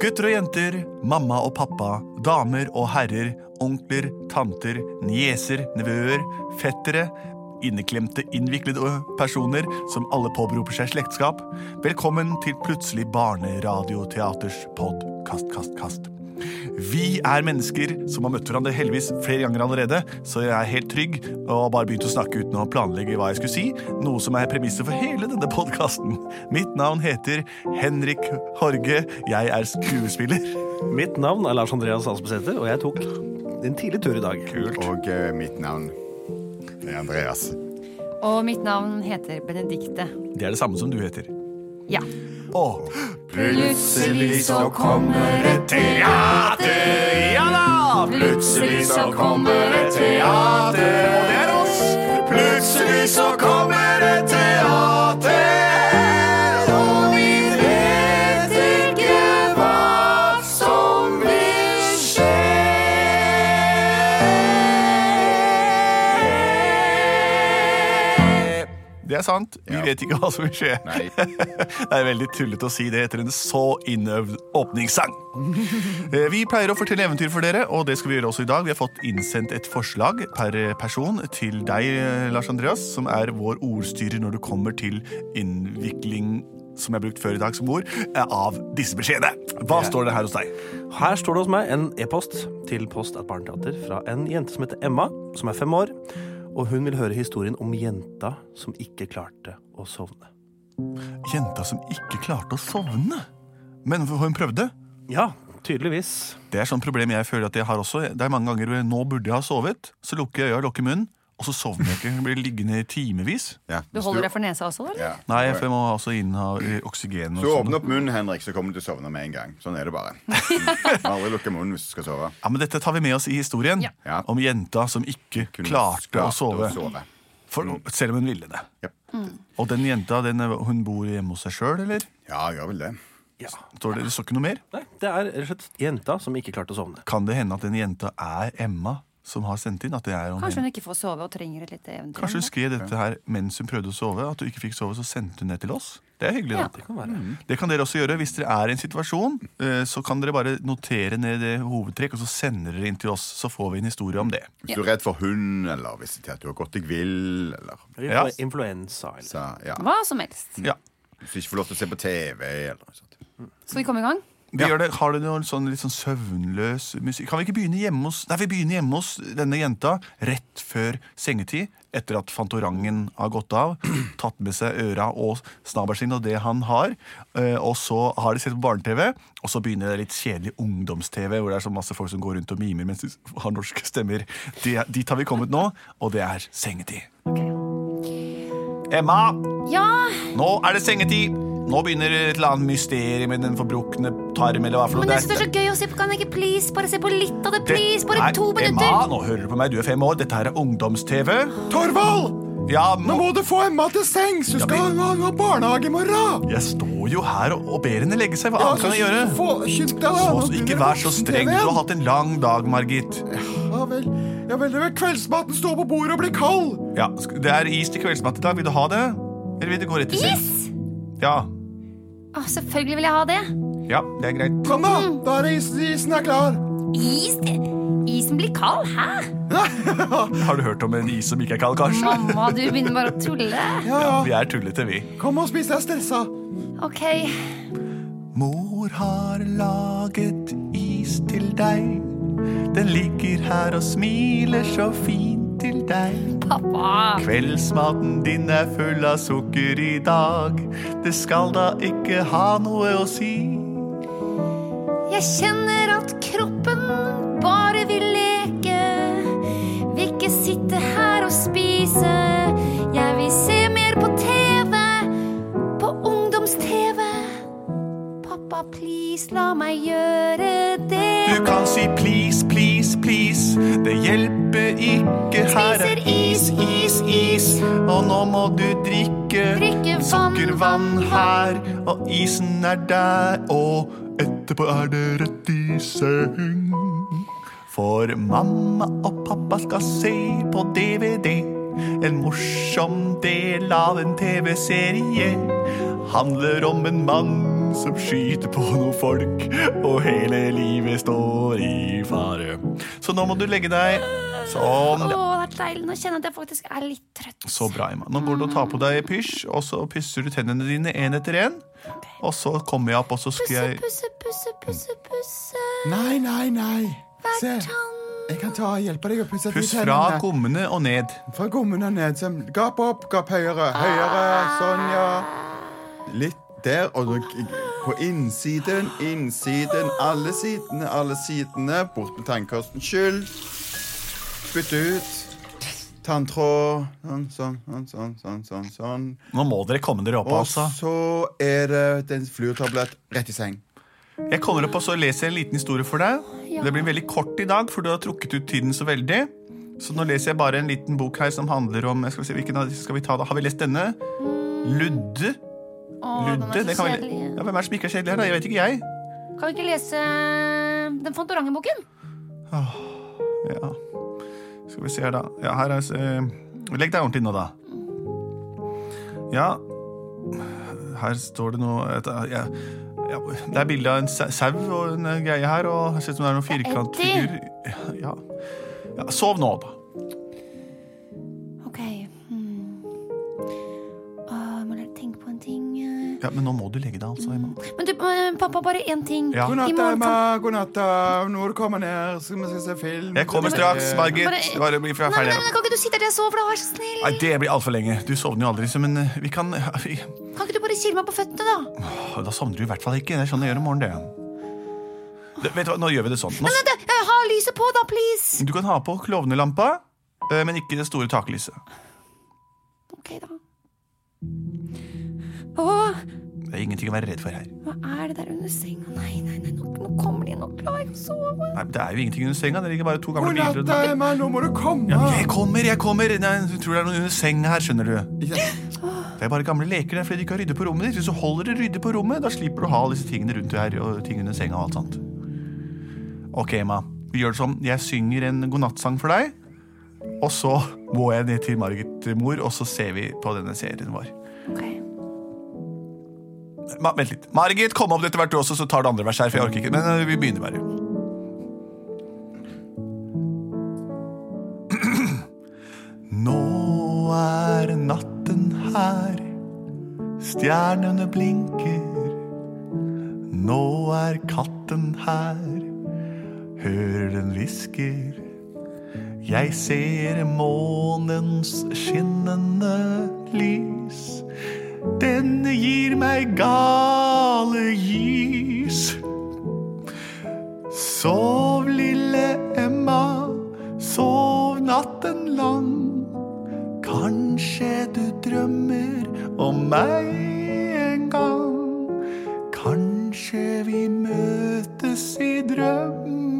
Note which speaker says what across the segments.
Speaker 1: Gutter og jenter, mamma og pappa, damer og herrer, onkler, tanter, nieser, nevøer, fettere, inneklemte, innviklede personer som alle påberoper seg slektskap, velkommen til Plutselig barneradioteaters podkast, kast, kast. Vi er mennesker som har møtt hverandre heldigvis flere ganger allerede, så jeg er helt trygg og bare begynte å snakke uten å planlegge hva jeg skulle si, noe som er premisset for hele denne podkasten. Mitt navn heter Henrik Horge, jeg er skuespiller.
Speaker 2: Mitt navn er Lars Andreas Aspeseter, og jeg tok en tidlig tur i dag. Kult.
Speaker 3: Og eh, mitt navn er Andreas.
Speaker 4: Og mitt navn heter Benedikte.
Speaker 1: Det er det samme som du heter.
Speaker 4: Ja.
Speaker 1: Å,
Speaker 4: Plutselig så kommer et
Speaker 3: teater, ja da!
Speaker 4: Plutselig så kommer
Speaker 3: et teater, og det er oss. Plutselig så kommer et teater, og vi vet ikke hva som vil skje.
Speaker 1: det er sant. Vi
Speaker 3: Ja.
Speaker 1: vet ikke hva som vil skje.
Speaker 3: Nei.
Speaker 1: Det er veldig tullete å si det etter en så innøvd åpningssang. Eh, Vi pleier å fortelle eventyr for dere, og det skal vi gjøre også i dag. Vi har fått innsendt et forslag per person til deg, eh, Lars Andreas, som er vår ordstyrer når det kommer til innvikling som jeg har brukt før i dag som ord, eh, av disse beskjedene. Hva står det her hos deg?
Speaker 2: Her står det hos meg en e-post til Post at Barneteater fra en jente som heter Emma, som er fem år. Og hun vil høre historien om jenta som ikke klarte å sovne.
Speaker 1: Jenta som ikke klarte å sovne. Men hun prøvde.
Speaker 2: Ja, tydeligvis.
Speaker 1: Det er sånn problem jeg føler at jeg har også. Det er mange ganger hvor jeg, nå burde jeg ha sovet, så lukker jeg øya og lukker munnen, og så sovner jeg ikke. Jeg blir liggende i timevis.
Speaker 3: Ja,
Speaker 4: Du
Speaker 3: hvis
Speaker 4: holder deg for nesa også, da? eller?
Speaker 3: Ja.
Speaker 1: Nei, for jeg må også inn ha eh, oksygen. og
Speaker 3: Hvis du
Speaker 1: sånn.
Speaker 3: åpner opp munnen, Henrik, så kommer du til å sovne med en gang. Sånn er det bare. Du må Aldri lukke munnen hvis du skal sove.
Speaker 1: Ja, men Dette tar vi med oss i historien
Speaker 4: Ja.
Speaker 3: Ja.
Speaker 1: om jenta som ikke
Speaker 3: Kunne
Speaker 1: klarte å
Speaker 3: klart
Speaker 1: sove.
Speaker 3: Å sove. Mm.
Speaker 1: For, selv om hun ville det.
Speaker 3: Ja.
Speaker 1: Og den jenta den, eh, hun bor hjemme hos seg sjøl, eller?
Speaker 3: ja, gjør vel det.
Speaker 2: Ja.
Speaker 1: Står det, det står ikke noe mer?
Speaker 2: Nei, det er rett og slett jenta som ikke klarte å sovne.
Speaker 1: Kan det hende at den jenta er Emma som har sendt inn? At det er om
Speaker 4: Kanskje
Speaker 1: henne?
Speaker 4: hun ikke får sove og trenger et lite eventyr?
Speaker 1: Kanskje hun skrev dette her mens hun prøvde å sove? At hun ikke fikk sove, så sendte hun det til oss? Det er hyggelig.
Speaker 4: Ja.
Speaker 1: da.
Speaker 2: Det kan være.
Speaker 1: Det kan dere også gjøre. Hvis dere er i en situasjon, eh, så kan dere bare notere ned det hovedtrekk, og så sender dere inn til oss. Så får vi en historie om det.
Speaker 3: Hvis du er redd for hund, eller hvis til at du har gått deg vill, eller
Speaker 1: Ja.
Speaker 2: Influ- Influensa. Eller.
Speaker 3: så, ja.
Speaker 4: Hva som helst.
Speaker 1: Ja.
Speaker 3: Hvis du ikke får lov til å se på TV, eller noe sånt.
Speaker 4: Skal vi komme i gang?
Speaker 1: Vi gjør det. Har du noen sånn litt sånn søvnløs musikk? Kan vi ikke begynne hjemme hos Nei, vi begynner hjemme hos denne jenta rett før sengetid. Etter at Fantorangen har gått av, tatt med seg øra og snabelen sin og det han har. eh, Og så har de sett på barne-TV, og så begynner det litt kjedelig ungdoms-TV, hvor det er så masse folk som går rundt og mimer mens de har norske stemmer. Det- Dit har vi kommet nå, og det er sengetid. Emma!
Speaker 4: Ja,
Speaker 1: Nå er det sengetid! Nå begynner et eller annet mysterium med den forbrukne tarm. eller hva for noe
Speaker 4: men
Speaker 1: det
Speaker 4: jeg synes det er så gøy å se på. Kan jeg ikke please bare se på litt av det?
Speaker 1: Det-
Speaker 4: Please, bare
Speaker 1: Nei,
Speaker 4: to
Speaker 1: Emma,
Speaker 4: minutter.
Speaker 1: nå hører du på meg. Du er fem år. Dette her er ungdoms-TV.
Speaker 3: Torvald!
Speaker 1: Ja, må...
Speaker 3: du få Emma til sengs! Hun
Speaker 1: skal Ja,
Speaker 3: ha barnehage i morgen!
Speaker 1: Jeg står jo her og, og ber henne legge seg. Hva annet kan jeg gjøre? Så, ikke vær så streng. Du har hatt en lang dag, Margit.
Speaker 3: Ja vel. Ja vel, det er kveldsmaten står på bordet og blir kald.
Speaker 1: Ja, sk- Det er is til kveldsmat i dag. Vil du ha det? Eller vil du gå rett til sengs?
Speaker 4: Yes!
Speaker 1: Ja.
Speaker 4: Å, selvfølgelig vil jeg ha det.
Speaker 1: ja, det er greit.
Speaker 3: Kom, da! Da er isen, isen er klar.
Speaker 4: Is? det- Isen blir kald, hæ?
Speaker 1: Har du hørt om en is som ikke er kald, kanskje?
Speaker 4: Mamma, du begynner bare å tulle.
Speaker 1: Ja, vi er tullete, vi.
Speaker 3: Kom og spis, jeg er stressa.
Speaker 4: Ok,
Speaker 1: Mor har laget is til deg. Den ligger her og smiler så fint til deg.
Speaker 4: pappa.
Speaker 1: Kveldsmaten din er full av sukker i dag. Det skal da ikke ha noe å si.
Speaker 4: Jeg kjenner at kroppen bare vil leke. Vil ikke sitte her og spise. Jeg vil se mer på TV. På ungdoms-TV. Pappa, please, la meg gjøre det.
Speaker 1: Du kan si please, please, please. Det hjelper ikke. Her er is, is, is. Og nå må du drikke,
Speaker 4: Drikke vann,
Speaker 1: sukkervann her. Og isen er der, og etterpå er det rett i seng. For mamma og pappa skal se på DVD. En morsom del av en TV-serie. Handler om en mann som skyter på noen folk, og hele livet står i fare. Så nå må du legge deg sånn. ja.
Speaker 4: Å, det er deilig. Nå kjenner jeg at jeg faktisk er litt trøtt.
Speaker 1: Så bra, Emma. Nå går du og tar på deg pysj, og så pusser du tennene dine én etter én. Og så kommer jeg opp, og så skal
Speaker 4: Pusse,
Speaker 1: jeg
Speaker 4: pusse, pusse, pusse, pusse.
Speaker 5: Nei, nei, nei. Se,
Speaker 4: Tann.
Speaker 5: jeg kan ta og hjelpe deg å pusse de
Speaker 1: Puss fra
Speaker 5: tennene.
Speaker 1: gommene og ned.
Speaker 5: Fra gommene og ned. Sånn. Gap opp, gap høyere, høyere. Sånn, ja. Litt der, og du, på innsiden, innsiden, alle sidene, alle sidene. Bort med tannkosten. Skyld. Spytt ut. Tanntråd. Sånn, sånn, sånn, sånn, sånn, sånn. sånn.
Speaker 1: Nå må dere komme dere opp,
Speaker 5: Og
Speaker 1: altså.
Speaker 5: så er det en fluortablett rett i seng.
Speaker 1: Jeg kommer opp og så leser jeg en liten historie for deg.
Speaker 4: Ja.
Speaker 1: Det blir veldig kort i dag, for du har trukket ut tiden så veldig. Så nå leser jeg bare en liten bok her som handler om jeg skal se, hvilken av disse skal vi ta da? Har vi lest denne? Ludde?
Speaker 4: Mm. Å, den
Speaker 1: Ludde?
Speaker 4: er
Speaker 1: Det
Speaker 4: så
Speaker 1: kan vi...
Speaker 4: kjedelig.
Speaker 1: ja, hvem er det som ikke er kjedelig her, da? Jeg vet ikke, jeg.
Speaker 4: Kan vi ikke lese eh, den Fantorangen-boken?
Speaker 1: Ja. Skal vi se her, da. Ja, her er eh, Legg deg ordentlig nå, da. Ja Her står det noe et, ja, ja, Det er bilde av en sa- sau og en eh, greie her, og det ser ut som det er noen firkantfigur. Ja. ja. Sov nå, da.
Speaker 4: Ok. Hmm. Åh, må dere tenke på en ting. eh.
Speaker 1: Ja, Men nå må du legge deg, altså, Emma.
Speaker 4: Men du, eh, pappa, bare én ting.
Speaker 1: Ja.
Speaker 4: I
Speaker 5: God natt,
Speaker 4: morgen
Speaker 5: Emma.
Speaker 4: kan-
Speaker 5: God natt. da. Nå må du komme ned, så skal vi se film.
Speaker 1: Jeg kommer straks, Margit.
Speaker 4: Bare-
Speaker 1: Bare bli fra
Speaker 4: Nei, nei,
Speaker 1: ferdig.
Speaker 4: nei, Kan ikke du sitte der jeg sover, da? Vær så snill.
Speaker 1: Nei, det blir altfor lenge. Du sovner jo aldri, så men eh, vi kan vi,
Speaker 4: Kan ikke du bare kile meg på føttene, da?
Speaker 1: Da sovner du i hvert fall ikke. Det er sånn jeg gjør om morgenen, det. det. Vet du hva, Nå gjør vi det sånn. Nå
Speaker 4: Vent, da, eh, ha lyset på, da, please.
Speaker 1: Du kan ha på klovnelampa, eh, men ikke det store taklyset.
Speaker 4: Ok, da. Åh,
Speaker 1: Det er ingenting å være redd for her.
Speaker 4: hva er det der under senga? Nei, nei, nei, nå, nå kommer de. Nå klarer jeg ikke å sove.
Speaker 1: Nei, men Det er jo ingenting under senga. Det ligger bare to gamle
Speaker 5: God natt,
Speaker 1: biler
Speaker 5: da,
Speaker 1: under-
Speaker 5: Emma. Nå må du komme.
Speaker 1: Jeg kommer, jeg kommer! Nei, du tror det er noe under senga her, skjønner du. Det er bare gamle leker der fordi du ikke har ryddet på rommet ditt. Hvis du holder det ryddig på rommet, da slipper du å ha alle disse tingene rundt deg her, og ting under senga og alt sånt. Ok, Emma. Vi gjør det sånn. Jeg synger en godnattsang for deg, og så må jeg ned til Margit mor, og så ser vi på denne serien vår.
Speaker 4: Ok.
Speaker 1: Ma vent litt. Margit, kom opp etter hvert du også, så tar du andre vers her. For jeg orker ikke. Men eh, vi begynner bare. Nå er natten her. Stjernene blinker. Nå er katten her. Hører den hvisker. Jeg ser månens skinnende lys. Denne gir meg gale gis. Sov, lille Emma, sov natten lang. Kanskje du drømmer om meg en gang. Kanskje vi møtes i drømmeland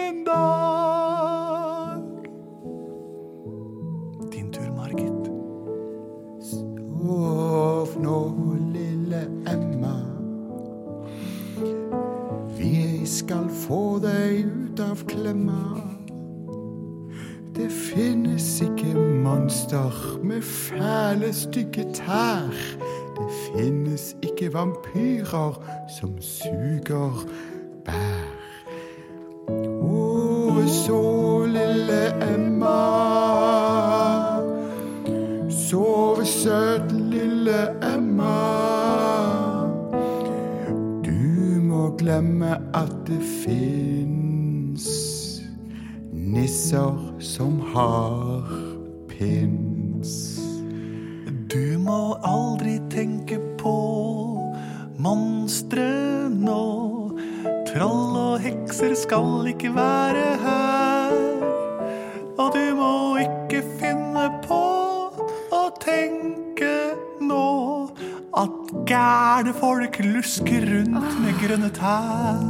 Speaker 1: en dag. Din tur, Margit.
Speaker 5: Sov nå, lille Emma. Vi skal få deg ut av klemma. Det finnes ikke monster med fæle, stygge tær. Det finnes ikke vampyrer som suger bær. Å, så lille Emma. Sove søt, lille Emma. Du må glemme at det fins nisser som har pins.
Speaker 1: Du må aldri tenke på monstre nå. Troll og hekser skal ikke være her. Og du må ikke finne på å tenke nå at Gærne folk lusker rundt med grønne tær.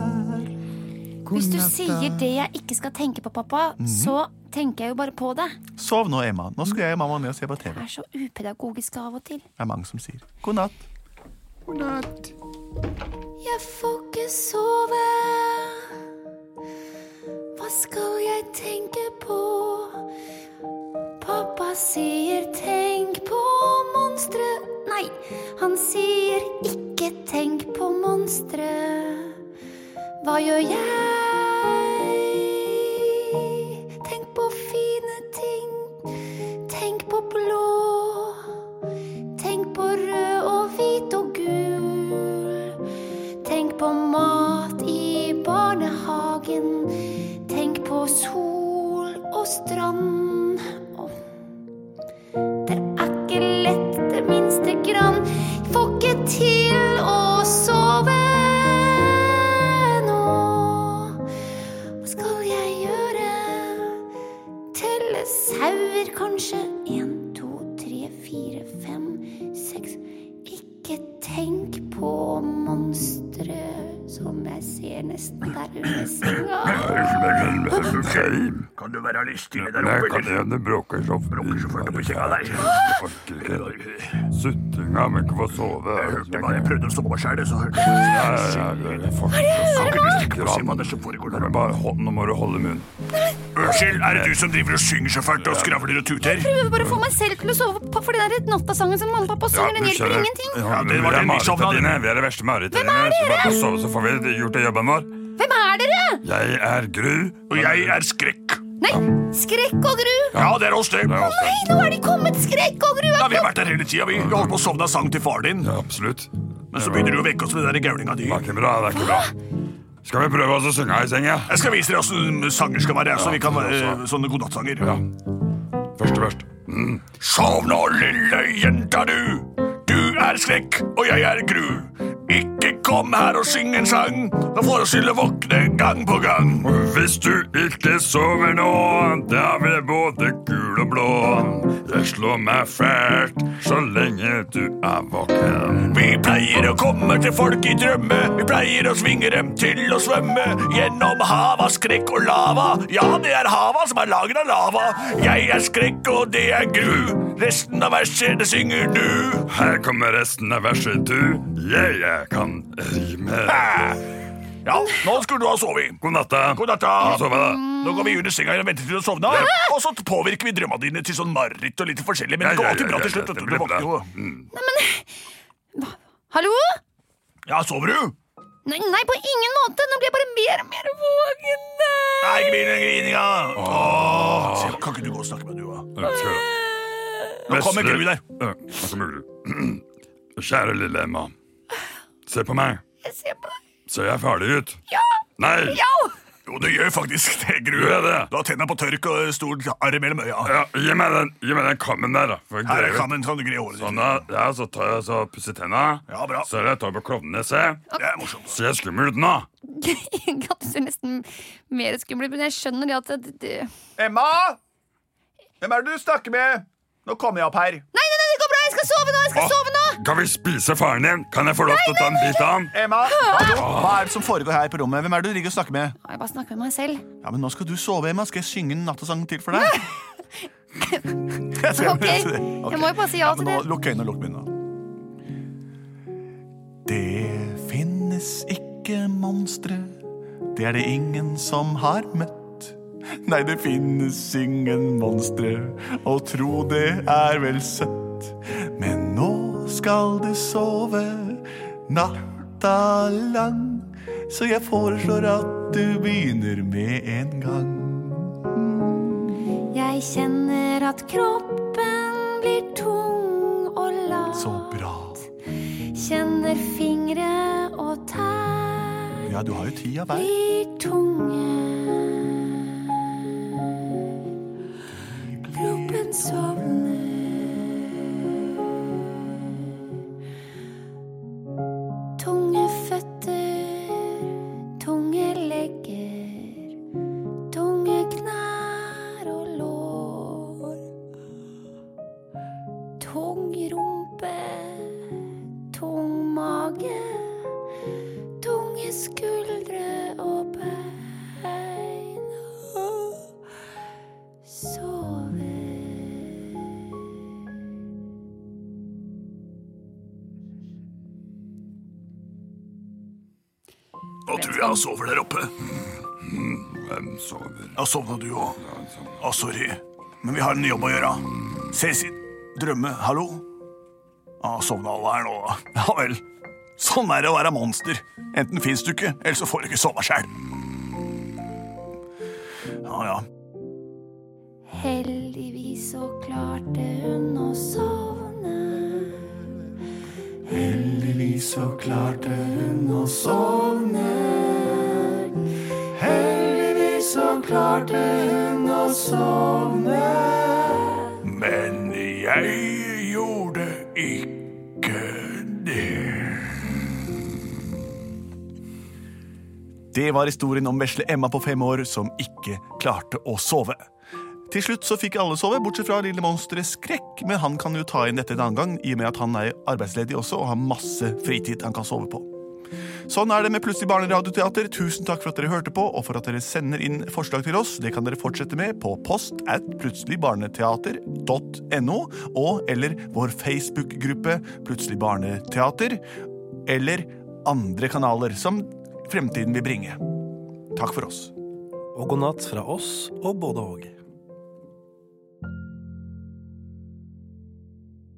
Speaker 4: Hvis du sier
Speaker 1: eh.
Speaker 4: det jeg ikke skal tenke på, pappa,
Speaker 1: Mhm.
Speaker 4: så tenker jeg jo bare på det.
Speaker 1: Sov nå, Emma. Nå skal jeg og mamma ned og se på TV.
Speaker 4: Det er så upedagogisk av og til.
Speaker 1: Det er mange som sier god natt.
Speaker 4: Jeg får ikke sove. Hva skal jeg tenke på? Pappa sier tenk på monstre. Nei, han sier ikke tenk på monstre. Hva gjør jeg? Tenk på fine ting. Tenk på blå. Tenk på rød og hvit og gul. Tenk på mat i barnehagen. Tenk på sol og strand. Åh. Det er ikke lett det minste grann. Får ikke til å sove nå. Hva skal jeg gjøre? Telle sauer, kanskje. Én, to, tre, fire, fem, seks. Ikke tenk på monstre som jeg ser nesten der under senga.
Speaker 6: Kan du være lystig med der oppe? Kan hende bråker så bråker så fælt på senga der. Suttinga mi ikke få sove. Jeg hørte bare jeg prøvde å sove sjæl, så hørte jeg Hva Bare hold, nå må du holde munn.
Speaker 7: Unnskyld, er det du som driver og synger så fælt og skravler og tuter?
Speaker 4: Prøver bare å få meg selv til å sove, pa- for den der nattasangen som mamma og pappa synger, den hjelper ingenting.
Speaker 6: Ja,
Speaker 7: det var den vi sovna,
Speaker 6: dine. Vi er de verste marerittene dine. Så bare få sove, så får vi gjort det jobben vår.
Speaker 4: Hvem er dere?
Speaker 6: Jeg er Gru.
Speaker 7: Og jeg er skrekk.
Speaker 4: Nei, Skrekk og Gru.
Speaker 7: Ja, det er oss, det.
Speaker 6: Det er
Speaker 7: Ja,
Speaker 6: oss,
Speaker 4: Nei, nå er de kommet, Skrekk og Gru. er
Speaker 7: Vi har vært der hele tida. Vi holdt på å sovne av sang til far din.
Speaker 6: Ja, absolutt.
Speaker 7: Men så begynner du å vekke oss med den der gaulinga di.
Speaker 6: Det er ikke bra. det er ikke bra. Skal vi prøve oss å synge her i senga?
Speaker 7: Jeg skal vise dere åssen sanger skal være. Så vi kan være
Speaker 6: Ja,
Speaker 7: eh, sånne godnattsanger.
Speaker 6: Ja. Først og først. Mm.
Speaker 7: Sov nå, lille jenta du. Du er skrekk, og jeg er gru. Ikke kom her og syng en sang. Da får oss til å våkne gang på gang.
Speaker 6: Og hvis du ikke sover nå, da blir både gul og blå. Jeg slår meg fælt så lenge du er våken.
Speaker 7: Vi pleier å komme til folk i drømme. Vi pleier å svinge dem til å svømme. Gjennom hav av skrekk og lava. Ja, det er hava som er laget av lava. Jeg er skrekk, og det er gru. Resten av verset, det synger du.
Speaker 6: Her kommer resten av verset, du. Jeg, jeg kan rime.
Speaker 7: Ja, nå skulle du ha sovet.
Speaker 6: God natta.
Speaker 7: God natt, da.
Speaker 6: Kan du sove, da?
Speaker 7: Nå går vi under senga og venter til du sovner. Og så påvirker vi drømmene dine til sånn mareritt og litt forskjellig. Men det går alltid bra til slutt. vet
Speaker 6: Det
Speaker 7: Du
Speaker 6: blir
Speaker 7: Du
Speaker 6: bra.
Speaker 7: våkner jo.
Speaker 4: Hallo?
Speaker 7: Ja, sover du?
Speaker 4: Nei, nei, på ingen måte. Nå blir jeg bare mer og mer våken.
Speaker 7: Nei, ikke begynn med grininga. Åh. Se, Kan ikke du gå og snakke med du, da?
Speaker 6: Ja, skal du.
Speaker 7: Nå kommer Gru der.
Speaker 6: Ja, nå kommer Gru. Kjære lille Emma. Se på meg.
Speaker 4: Jeg ser på deg.
Speaker 6: Ser jeg farlig ut?
Speaker 4: Ja!
Speaker 6: Nei!
Speaker 4: Ja!
Speaker 7: Jo, det gjør faktisk det, Gru.
Speaker 6: Gjør jeg det?
Speaker 7: Du har tenna på tørk og stor arr mellom øya.
Speaker 6: Ja, gi meg den, gi meg den kammen der, da. For jeg
Speaker 7: Her
Speaker 6: greier
Speaker 7: er
Speaker 6: ikke.
Speaker 7: kammen, kan du gre håret
Speaker 6: Sånn,
Speaker 7: ditt.
Speaker 6: da. Ja, så tar jeg så pusser tenna.
Speaker 7: Ja, bra.
Speaker 6: Så er det jeg tar på klovnene, se.
Speaker 7: Det er morsomt.
Speaker 6: Ser jeg skummel ut nå?
Speaker 4: At du ser nesten mer skummel ut, men jeg skjønner det at det, det.
Speaker 1: Emma! Hvem er det du snakker med? Nå kommer jeg opp her.
Speaker 4: Nei, nei, nei, det går bra! Jeg skal sove nå! Jeg skal
Speaker 6: Åh,
Speaker 4: sove nå!
Speaker 6: Kan vi spise faren din? Kan jeg få lov til å ta en bit av han?
Speaker 1: Emma, hallo? hva er det som foregår her på rommet? Hvem er det du ligger og snakker med?
Speaker 4: Ja, Jeg bare snakker med meg selv.
Speaker 1: Ja, men Nå skal du sove, Emma. Skal jeg synge en nattasang til for deg? Jeg ser-
Speaker 4: Ok, jeg må jo bare si ja
Speaker 1: men
Speaker 4: til
Speaker 1: Nå,
Speaker 4: det.
Speaker 1: lukk øynene og lukk munnen. Det finnes ikke monstre, det er det ingen som har møtt. Nei, det finnes ingen monstre, og tro det er vel søtt. Men nå skal du sove natta lang, så jeg foreslår at du begynner med en gang.
Speaker 4: Jeg kjenner at kroppen blir tung og lat.
Speaker 1: Så bra.
Speaker 4: Kjenner fingre og tær
Speaker 1: Ja, du har jo tida hver.
Speaker 4: blir tunge. Kroppen sovner. Tunge føtter, tunge legger, tunge knær og lår. Tung rumpe, tung mage. skuldre og bein og sover.
Speaker 7: Nå tror jeg han sover der oppe.
Speaker 6: Hvem sover?
Speaker 7: Ja, sovna du òg. Ja, sorry. Men vi har en jobb å gjøre. Se sitt drømme. Hallo? Ja, sovna alle her nå, da. Ja vel. Sånn er det å være monster. Enten fins du ikke, eller så får du ikke sove sjæl. Ja, ja.
Speaker 4: Heldigvis så klarte hun å sovne. Heldigvis så klarte hun å sovne. Heldigvis så klarte hun å sovne.
Speaker 7: Men jeg gjorde ikke det.
Speaker 1: Det var historien om vesle Emma på fem år som ikke klarte å sove. Til slutt så fikk alle sove, bortsett fra lille monsteret Skrekk, men han kan jo ta inn dette en annen gang, i og med at han er arbeidsledig også og har masse fritid han kan sove på. Sånn er det med Plutselig barneradioteater. Tusen takk for at dere hørte på, og for at dere sender inn forslag til oss. Det kan dere fortsette med på post at plutseligbarneteater.no, og eller vår Facebook-gruppe Plutselig barneteater, eller andre kanaler som fremtiden vil bringe. Takk for oss.
Speaker 2: Og god natt fra oss og både og.